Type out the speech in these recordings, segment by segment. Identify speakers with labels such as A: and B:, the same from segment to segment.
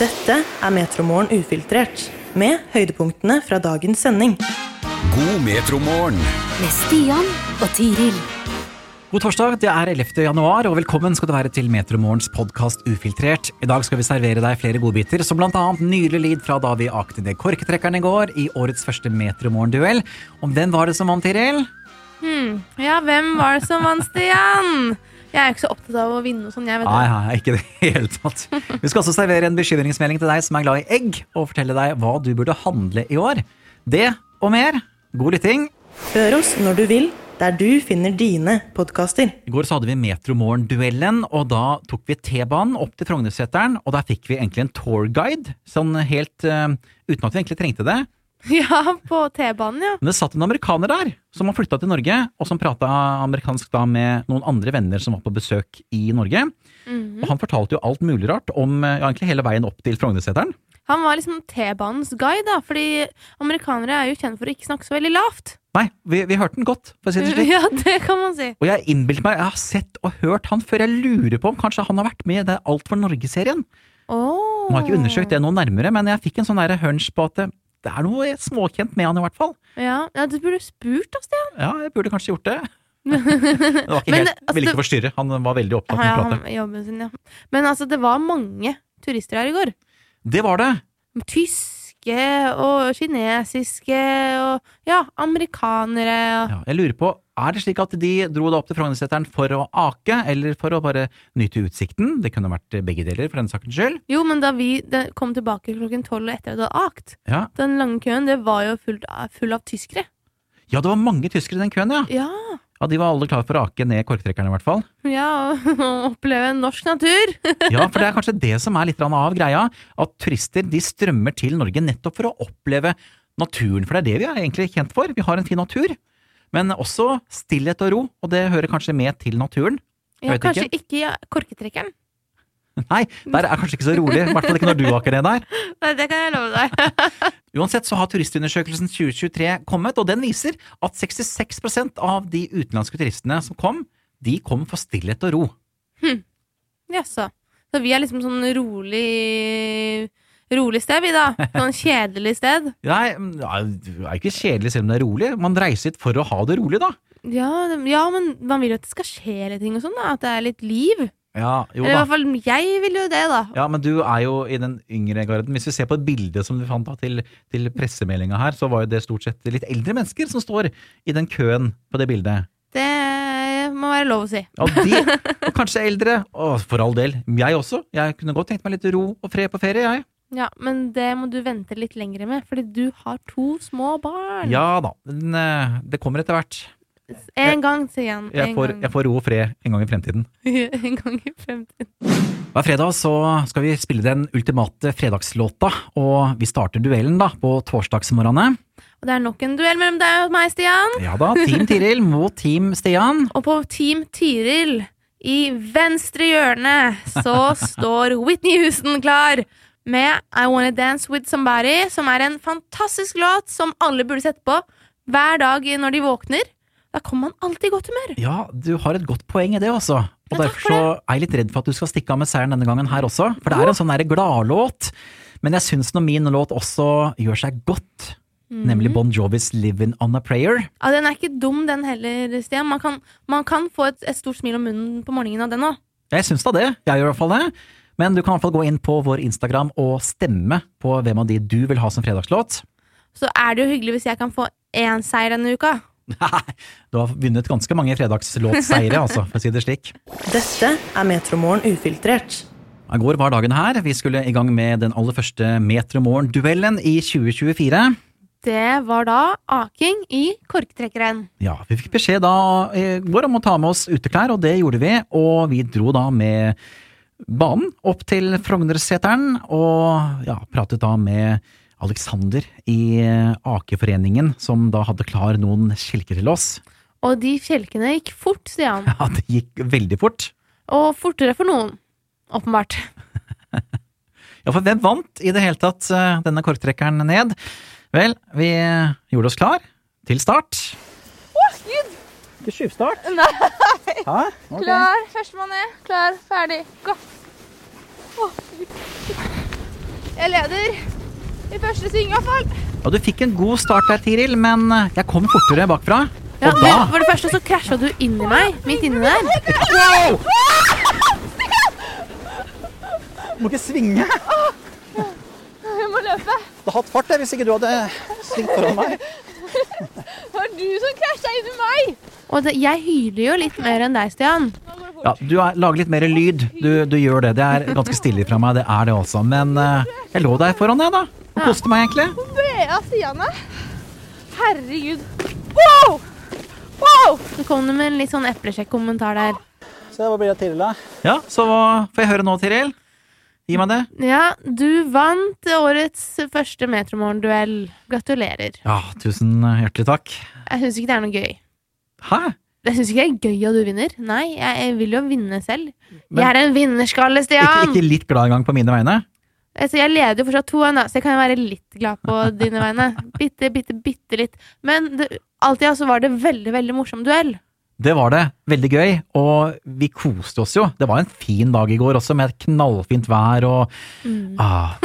A: Dette er Metromorgen ufiltrert, med høydepunktene fra dagens sending.
B: God metromorgen.
C: med Stian og Tiril.
D: God torsdag, det er 11. januar, og velkommen skal du være til Metromorgens podkast Ufiltrert. I dag skal vi servere deg flere godbiter, som blant annet nylig lid fra da vi akte ned korketrekkeren i går, i årets første Metromorgen-duell. Om den var det som vant, Tiril?
E: Ja, hvem var det som vant, Stian? Jeg er ikke så opptatt av å vinne og sånn, jeg vet
D: Nei,
E: det.
D: nei, ikke i det hele tatt. Vi skal også servere en bekymringsmelding til deg som er glad i egg, og fortelle deg hva du burde handle i år. Det og mer. God lytting.
A: Hør oss når du vil, der du finner dine podkaster.
D: I går så hadde vi Metromorgen-duellen, og da tok vi T-banen opp til Frognerseteren, og der fikk vi egentlig en tourguide, sånn helt eh, uten at vi egentlig trengte det.
E: Ja, på T-banen, ja.
D: Men det satt en amerikaner der, som har flytta til Norge, og som prata amerikansk da med noen andre venner som var på besøk i Norge. Og han fortalte jo alt mulig rart om eh, ja, egentlig hele veien opp til Frognerseteren.
E: Han var liksom T-banens guide, da, fordi amerikanere er jo kjent for å ikke snakke så veldig lavt.
D: Nei, vi, vi hørte den godt, for å si det slik.
E: Ja, det kan man si.
D: Og jeg innbilte meg, jeg har sett og hørt han før, jeg lurer på om kanskje han har vært med i det Alt for Norge-serien.
E: Oh.
D: Nå har jeg ikke undersøkt det noe nærmere, men jeg fikk en sånn der hunch på at det, det er noe småkjent med han i hvert fall.
E: Ja, ja du burde spurt, da, Stian.
D: Ja, jeg burde kanskje gjort det. det var ikke
E: Men
D: helt,
E: det- altså,
D: ville
E: det-
D: ikke forstyrre, han var veldig opptatt
E: Ja,
D: med å
E: han,
D: prate.
E: jobben sin, ja. Men altså, det var mange turister her i går.
D: Det var det!
E: Tyske og kinesiske og ja, amerikanere.
D: Ja, jeg lurer på, er det slik at de dro da opp til Frognerseteren for å ake, eller for å bare nyte utsikten? Det kunne vært begge deler, for den sakens skyld.
E: Jo, men da vi da- kom tilbake klokken tolv etter at det hadde akt,
D: Ja,
E: Den lange køen, det var jo fullt av- full av tyskere.
D: ja det var mange tyskere i den køen, ja.
E: Ja,
D: Ja, De var alle klare for å ake ned korktrekkerne, i hvert fall.
E: ja og oppleve norsk natur.
D: Ja, for det er kanskje det som er litt grann av greia, at turister de strømmer til Norge nettopp for å oppleve naturen, for det er det vi er egentlig kjent for. Vi har en fin natur, men også stillhet og ro, og det hører kanskje med til naturen.
E: Ja,
D: Jeg vet
E: kanskje ikke, ja, korketrekkeren.
D: Nei, der er kanskje ikke så rolig, i hvert fall ikke når du aker ned der.
E: Nei, det kan jeg love deg.
D: Uansett så har turistundersøkelsen 2023 kommet, og den viser at 66 av de utenlandske turistene som kom, de kom for stillhet og ro.
E: Jaså. Så vi er liksom sånn rolig Rolig sted, vi, da. Sånn kjedelig sted.
D: Nei, ja, det er ikke kjedelig selv om det er rolig, man reiser hit for å ha det rolig da.
E: Ja, det- ja, men man vil jo at det skal skje litt ting og sånn, da. At det er litt liv.
D: Ja, jo
E: Eller i
D: da.
E: hvert fall jeg vil jo det, da.
D: Ja, men du er jo i den yngre garden. Hvis vi ser på et bilde som vi fant da til, til pressemeldinga her, så var jo det stort sett litt eldre mennesker som står i den køen på det bildet.
E: Det må være lov å si.
D: Ja, de, og kanskje eldre. Å, for all del. Jeg også. Jeg kunne godt tenkt meg litt ro og fred på ferie, jeg.
E: Ja, Men det må du vente litt lenger med, fordi du har to små barn.
D: Ja da. Men eh, det kommer etter hvert.
E: En gang, sier han.
D: Jeg
E: En
D: får,
E: gang.
D: jeg får ro og fred en gang i fremtiden.
E: en gang i fremtiden.
D: Hver fredag så skal vi spille den ultimate fredagslåta, og vi starter duellen da på torsdagsmorgenene.
E: Og det er nok en duell mellom deg og meg, Stian.
D: Ja da, Team Tiril mot Team Stian.
E: Og på Team Tyril, i venstre hjørne, så står Whitney Houston klar med I Wanna Dance With Somebody, som er en fantastisk låt som alle burde sette på hver dag når de våkner. Da kommer man alltid i godt humør.
D: Ja, du har et godt poeng i det, altså. Og
E: Ja, takk
D: derfor så er jeg litt redd for at du skal stikke av med seieren denne gangen her også. For det er en sånn derre gladlåt. Men jeg syns nå min låt også gjør seg godt. Nemlig Bon Jovis 'Livin' On A Prayer'.
E: Ja, den er ikke dum, den heller, Stian. Man kan, man kan få et, et stort smil om munnen på morgenen av den òg.
D: Jeg syns da det. Jeg gjør i hvert fall det. Men du kan i hvert fall gå inn på vår Instagram og stemme på hvem av de du vil ha som fredagslåt.
E: Så er det jo hyggelig hvis jeg kan få én seier denne uka.
D: Du har vunnet ganske mange fredagslåtseire, altså, for å si det slik.
A: Dette er Metromorgen ufiltrert.
D: I går var dagen her. Vi skulle i gang med den aller første Metromorgen-duellen i 2024.
E: Det var da aking i korktrekkeren.
D: Ja, vi fikk beskjed da i går om å ta med oss uteklær, og det gjorde vi. Og vi dro da med banen opp til Frognerseteren, og ja, pratet da med Alexander i eh, Akeforeningen, som da hadde klar noen kjelker til oss.
E: Og de kjelkene gikk fort, Stian.
D: Ja, det gikk veldig fort.
E: Og fortere for noen. Åpenbart.
D: Ja, for hvem vant i det hele tatt eh, denne korktrekkeren ned? Vel, vi gjorde oss klar til start. Å, Gud! Ikke tjuvstart? Nei! Hæ? Ok.
E: Klar, førstemann ned. Klar, ferdig, gå. Jeg leder i første sving, i hvert fall.
D: Og du fikk en god start der, Tiril, men eh, jeg kom fortere bakfra.
E: Ja,
D: og
E: men
D: da
E: for det første så krasja du inn i meg, midt inni der.
D: Wow! Du må ikke svinge. Jeg
E: Jeg må løpe.
D: hadde hatt fart jeg, hvis ikke du hadde svingt foran meg.
E: Det var du som krasja inn i meg. Og det, jeg hyler jo litt mer enn deg, Stian.
D: Ja, du er, lager litt mer lyd. Du, du gjør det. Det er ganske stille fra meg, det er det også. Men eh, jeg lå der foran deg, da. Og koste meg, egentlig.
E: Bea Stian, Herregud. Wow! Wow! Så kom du med en litt sånn eplesjekk-kommentar der.
F: Se, hva blir det til, da?
D: Ja, Så hva- får jeg høre nå, Tiril? Gi meg det.
E: Ja, du vant årets første Metromorgen-duell. Gratulerer.
D: Ja, tusen hjertelig takk.
E: Jeg syns ikke det er noe gøy.
D: Hæ?
E: Jeg syns ikke det er gøy at du vinner. Nei, jeg, jeg vil jo vinne selv.
D: Men-
E: jeg er en vinnerskalle,
D: Ikke,
E: Stian!
D: ikke litt glad engang på mine vegne?
E: Altså, jeg leder jo fortsatt 2-1, da, så jeg kan jo være litt glad på dine vegne. Bitte, bitte, bitte litt. Men det, alt i alt så var det veldig, veldig morsom duell.
D: Det var det. Veldig gøy. Og vi koste oss jo. Det var en fin dag i går også, med et knallfint vær og ah.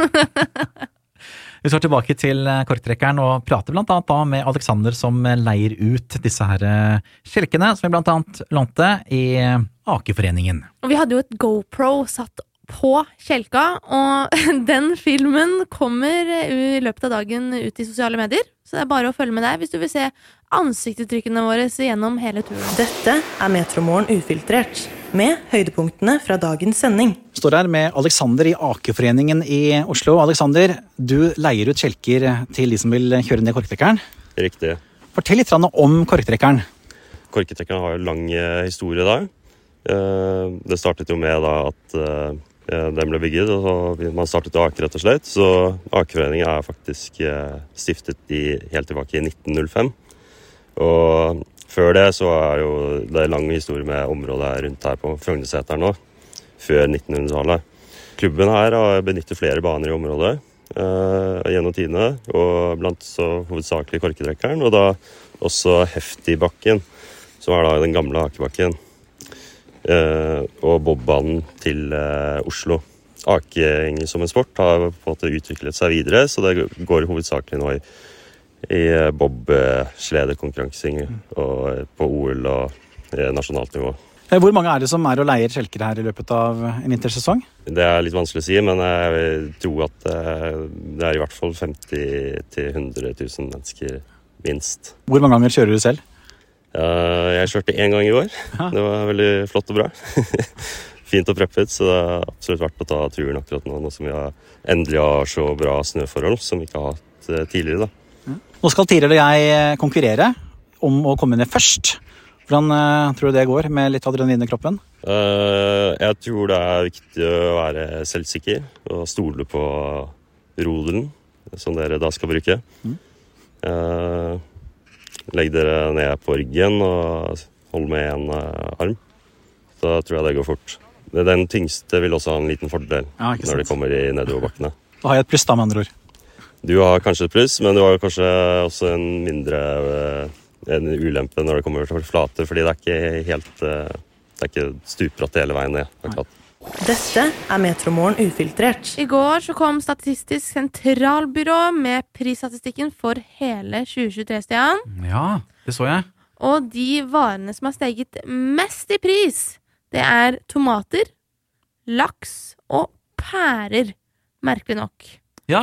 D: Vi skal tilbake til eh, korktrekkeren og prater blant annet da med Alexander som eh, leier ut disse her eh, skjelkene som vi blant annet lånte i eh, Akeforeningen.
E: Og vi hadde jo et GoPro satt på kjelka, og den filmen kommer i løpet av dagen ut i sosiale medier. Så det er bare å følge med der hvis du vil se ansiktuttrykkene våre gjennom hele turen.
A: Dette er Metromorgen ufiltrert, med høydepunktene fra dagens sending.
F: Står her med Alexander i Akeforeningen i Oslo. Alexander, du leier ut kjelker til de som vil kjøre ned korktrekkeren.
G: Riktig.
F: Fortell litt grann om korktrekkeren.
G: Korketrekkeren har jo lang eh, historie der. Eh, Det startet jo med da at eh, eh, den ble bygget, og så vi- man startet å ake, rett og slett. Så Akeforeningen er faktisk eh, stiftet i, helt tilbake i 1905. Og før det så er jo det er lang historie med området her rundt her på Frognerseteren nå, før 1900-tallet. Klubben her har benyttet flere baner i området eh, gjennom tidene, og blant så hovedsakelig korketrekkeren, og da også Heftigbakken som er da den gamle akebakken. Eh, og bobbanen til eh, Oslo. Aking som en sport har på en måte utviklet seg videre, så det går hovedsakelig nå i, i eh, bob-slederkonkurranser og eh, på OL og eh, nasjonalt nivå.
F: Eh, Hvor mange er det som er og leier kjelker her i løpet av en vintersesong?
G: Det er litt vanskelig å si, men jeg vil tro at eh, det er i hvert fall 50 000-100 000 mennesker, minst.
F: Hvor mange ganger kjører du selv?
G: Eh, Jeg kjørte én gang i år. Det var veldig flott og bra. Fint og preppet, så det er absolutt verdt å ta turen akkurat nå, nå som vi har endelig har så bra snøforhold som vi ikke har hatt eh, tidligere. da.
F: Nå skal Tiril og jeg eh, konkurrere om å komme ned først. Hvordan eh, tror du det går med litt adrenalin i kroppen?
G: Eh, Jeg tror det er viktig å være selvsikker og stole på rodelen som dere da skal bruke.
F: Mm.
G: Eh, Legg dere ned på ryggen og hold med én arm. Da tror jeg det går fort. Den tyngste vil også ha en liten fordel
F: Ja, ikke
G: når det
F: sant.
G: kommer i nedoverbakkene.
F: Da har jeg et pluss, da, med andre ord.
G: Du har kanskje et pluss, men du har kanskje også en mindre eh, en ulempe når det kommer til flater, fordi det er ikke helt eh, Det er ikke stupbratt hele veien ned. akkurat.
A: Dette er Metromorgen ufiltrert.
E: I går så kom Statistisk sentralbyrå med prisstatistikken for hele 2023, Stian.
D: Ja, det så jeg.
E: Og de varene som har steget mest i pris, det er tomater, laks og pærer. Merkelig nok.
D: Ja.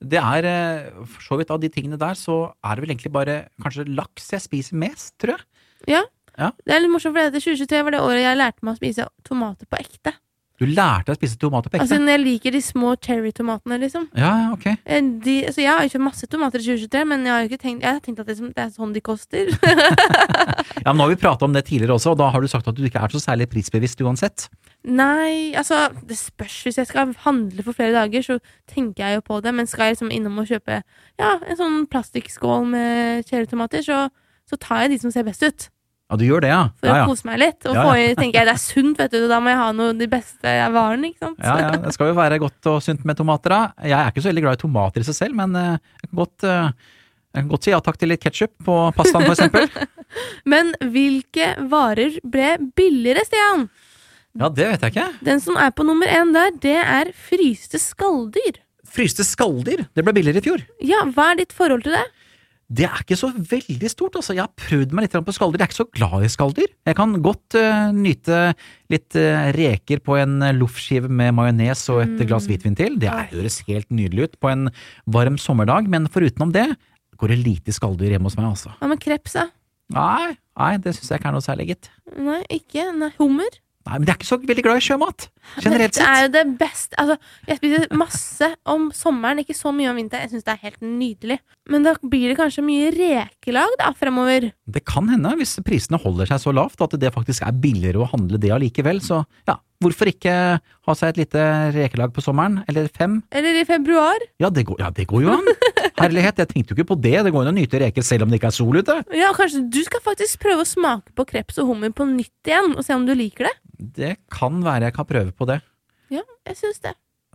D: Det er eh, for så vidt av de tingene der, så er det vel egentlig bare kanskje laks jeg spiser mest, tror jeg.
E: Det er litt morsomt, for det 2023 var det året jeg lærte meg å spise tomater på ekte.
D: Du lærte deg å spise tomater på ekte?
E: Altså, jeg liker de små cherrytomatene, liksom.
D: ja, ja, ok.
E: Eh, De, altså, jeg har jo kjøpt masse tomater i 2023, men jeg har jo ikke tenkt, jeg har tenkt at det, som- det er sånn de koster.
D: Ja, men Nå har vi prata om det tidligere også, og da har du sagt at du ikke er så særlig prisbevisst uansett.
E: Nei, altså, det spørs. Hvis jeg skal handle for flere dager, så tenker jeg jo på det. Men skal jeg liksom innom og kjøpe ja, en sånn plastikkskål med cherrytomater, så, så tar jeg de som ser best ut.
D: Ja, du gjør det, ja.
E: For
D: Ja,
E: å
D: ja.
E: kose meg litt. Og
D: Ja,
E: få i, tenker jeg det er sunt, vet du, og da må jeg ha noe de beste varene, ikke sant.
D: Ja, ja, Det skal jo være godt og sunt med tomater, da. Jeg er ikke så veldig glad i tomater i seg selv, men eh, jeg kan godt, eh, jeg kan godt si ja takk til litt ketsjup på pastaen, for eksempel.
E: Men hvilke varer ble billigere, Stian?
D: Ja, det vet jeg ikke.
E: Den som er på nummer én der, det er fryste skalldyr.
H: Fryste skalldyr. Det ble billigere i fjor.
E: Ja, hva er ditt forhold til det?
H: Det er ikke så veldig stort, altså. Jeg har prøvd meg litt grann på skalldyr. Jeg er ikke så glad i skalldyr. Jeg kan godt eh, nyte litt eh, reker på en eh, loffskive med majones og et glass hvitvin til. Det er- høres helt nydelig ut på en varm sommerdag, men forutenom det går det lite skalldyr hjemme hos meg, altså.
E: Hva med kreps, da?
H: Nei, nei det syns jeg ikke er noe særlig, gitt.
E: Nei, ikke? Nei, hummer?
H: Nei, men jeg er ikke så veldig glad i sjømat, generelt
E: Det er
H: sett.
E: jo det beste altså, Jeg spiser masse om sommeren, ikke så mye om vinteren. Jeg syns det er helt nydelig. Men da blir det kanskje mye rekelag da, fremover.
H: Det kan hende, hvis prisene holder seg så lavt, at det faktisk er billigere å handle det allikevel, så ja, hvorfor ikke ha seg et lite rekelag på sommeren, eller fem?
E: Eller i februar.
H: Ja, det går, ja, det går jo an. Herlighet, jeg tenkte jo ikke på det, det går an å nyte reker selv om det ikke er sol ute.
E: Ja, Kanskje du skal faktisk prøve å smake på kreps og hummer på nytt igjen, og se om du liker det?
H: Det kan være jeg kan prøve på det.
E: Ja, jeg syns det.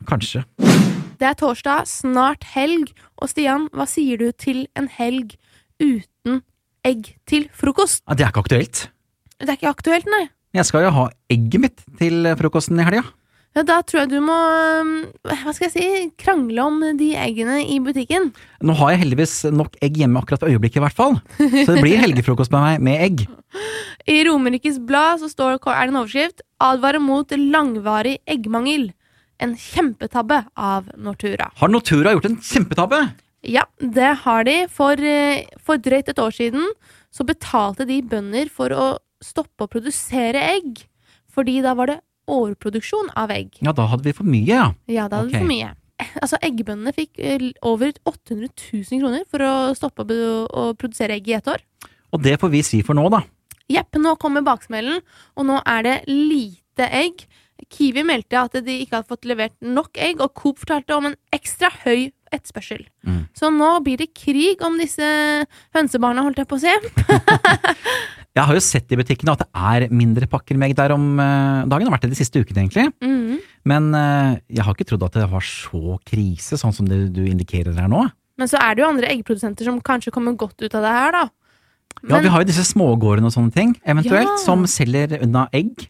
H: Kanskje.
E: Det er torsdag, snart helg, og Stian, hva sier du til en helg uten egg til frokost?
H: Ja, det er ikke aktuelt.
E: Det er ikke aktuelt, nei.
H: Jeg skal jo ha egget mitt til frokosten i helga.
E: Ja, Da tror jeg du må øhm, hva skal jeg si, krangle om de eggene i butikken.
H: Nå har jeg heldigvis nok egg hjemme akkurat for øyeblikket i hvert fall, så det blir helgefrokost med meg med egg.
E: I Romerikes Blad så står, er det en overskrift 'Advarer mot langvarig eggmangel'. En kjempetabbe av Nortura.
H: Har Nortura gjort en kjempetabbe?
E: Ja, det har de. For, eh, for drøyt et år siden så betalte de bønder for å stoppe å produsere egg. Fordi da var det overproduksjon av egg.
H: Ja, da hadde vi for mye, ja.
E: Ja, da hadde de
H: Ok.
E: for mye. Altså, Eggbøndene fikk eh, l- over 800 000 kroner for å stoppe å be- å produsere egg i ett år.
H: Og det får vi si for nå, da.
E: Jepp, nå kommer baksmellen, og nå er det lite egg. Kiwi meldte at de ikke hadde fått levert nok egg, og Coop fortalte om en ekstra høy etterspørsel.
H: Mm.
E: Så nå blir det krig om disse hønsebarna, holdt jeg på å si.
H: Jeg har jo sett i butikkene at det er mindre pakker med egg der om eh, dagen. Det har vært det de siste ukene, egentlig.
E: Mhm.
H: Men eh, jeg har ikke trodd at det var så krise, sånn som det du indikerer her nå.
E: Men så er det jo andre eggprodusenter som kanskje kommer godt ut av det her, da.
H: Ja,
E: Men-
H: vi har jo disse smågårdene og sånne ting, eventuelt,
E: Ja.
H: som selger unna egg.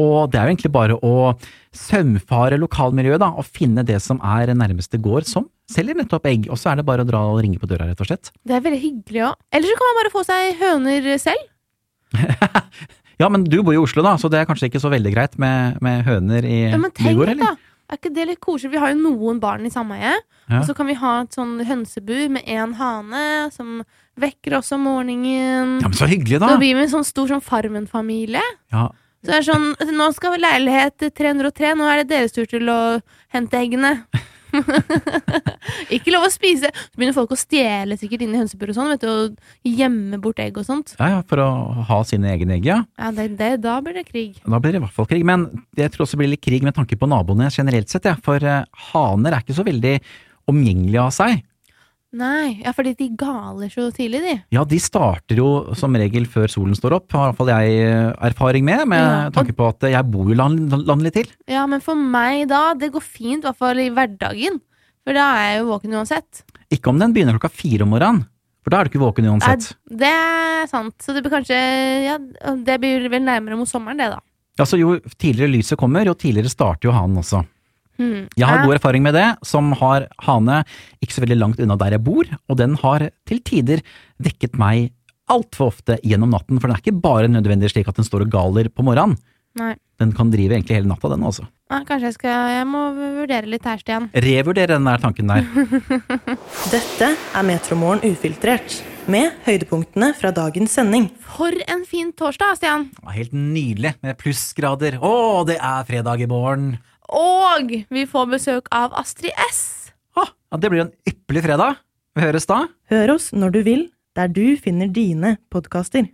H: Og det er jo egentlig bare å saumfare lokalmiljøet, da, og finne det som er nærmeste gård som selger nettopp egg. Og så er det bare å dra og ringe på døra, rett og slett.
E: Det er veldig hyggelig òg. Eller så kan man bare få seg høner selv.
H: Ja, men du bor jo i Oslo, da, så det er kanskje ikke så veldig greit med, med høner i
E: Ja, men tenk
H: bygård,
E: litt,
H: eller?
E: da. Er ikke det litt koselig? Vi har jo noen barn i sameie.
H: Ja.
E: Og så kan vi ha et sånn hønsebu med én hane, som vekker oss om morgenen.
H: Ja, men så hyggelig, da!
E: Da blir vi en sånn stor sånn Farmen-familie.
H: Ja,
E: Så det er sånn, Nå skal vi leilighet 303, nå er det deres tur til å hente eggene. ikke lov å spise. Så begynner folk å stjele sikkert inn i hønseburet og sånn, vet du, og gjemme bort egg og sånt.
H: ja, ja, for å ha sine egne egg, ja.
E: Ja, det, det, Da blir det krig.
H: Da blir det i hvert fall krig. Men jeg tror også det blir litt krig med tanke på naboene generelt sett, ja. for eh, haner er ikke så veldig omgjengelige av seg.
E: Nei, ja, fordi de galer så tidlig, de.
H: Ja, de starter jo som regel før solen står opp, har i hvert fall jeg eh, erfaring med, med
E: Ja, og-
H: tanke på at eh, jeg bor jo land, landlig til.
E: Ja, men for meg da, det går fint, i hvert fall i hverdagen. For da er jeg jo våken uansett.
H: Ikke om den begynner klokka fire om morgenen, for da er du ikke våken uansett.
E: Nei, det er sant. Så det blir kanskje ja, Det blir vel nærmere mot sommeren, det, da.
H: Ja, så jo tidligere lyset kommer, jo tidligere starter jo hanen også.
E: Hmm.
H: Jeg har
E: Ja.
H: god erfaring med det, som har hane ikke så veldig langt unna der jeg bor, og den har til tider vekket meg altfor ofte gjennom natten, for den er ikke bare nødvendig slik at den står og galer på morgenen.
E: Nei.
H: Den kan drive egentlig hele natta, den altså.
E: Nei, kanskje jeg skal Jeg må vurdere litt her, Stian.
H: Revurdere den der tanken der.
A: Dette er Metromorgen ufiltrert, med høydepunktene fra dagens sending.
E: For en fin torsdag, Stian!
H: Det var Helt nydelig med plussgrader. Å, det er fredag i morgen!
E: Og vi får besøk av Astrid S.
H: Ah, ja, det blir en ypperlig fredag. Vi høres da.
A: Hør oss når du vil, der du finner dine podkaster.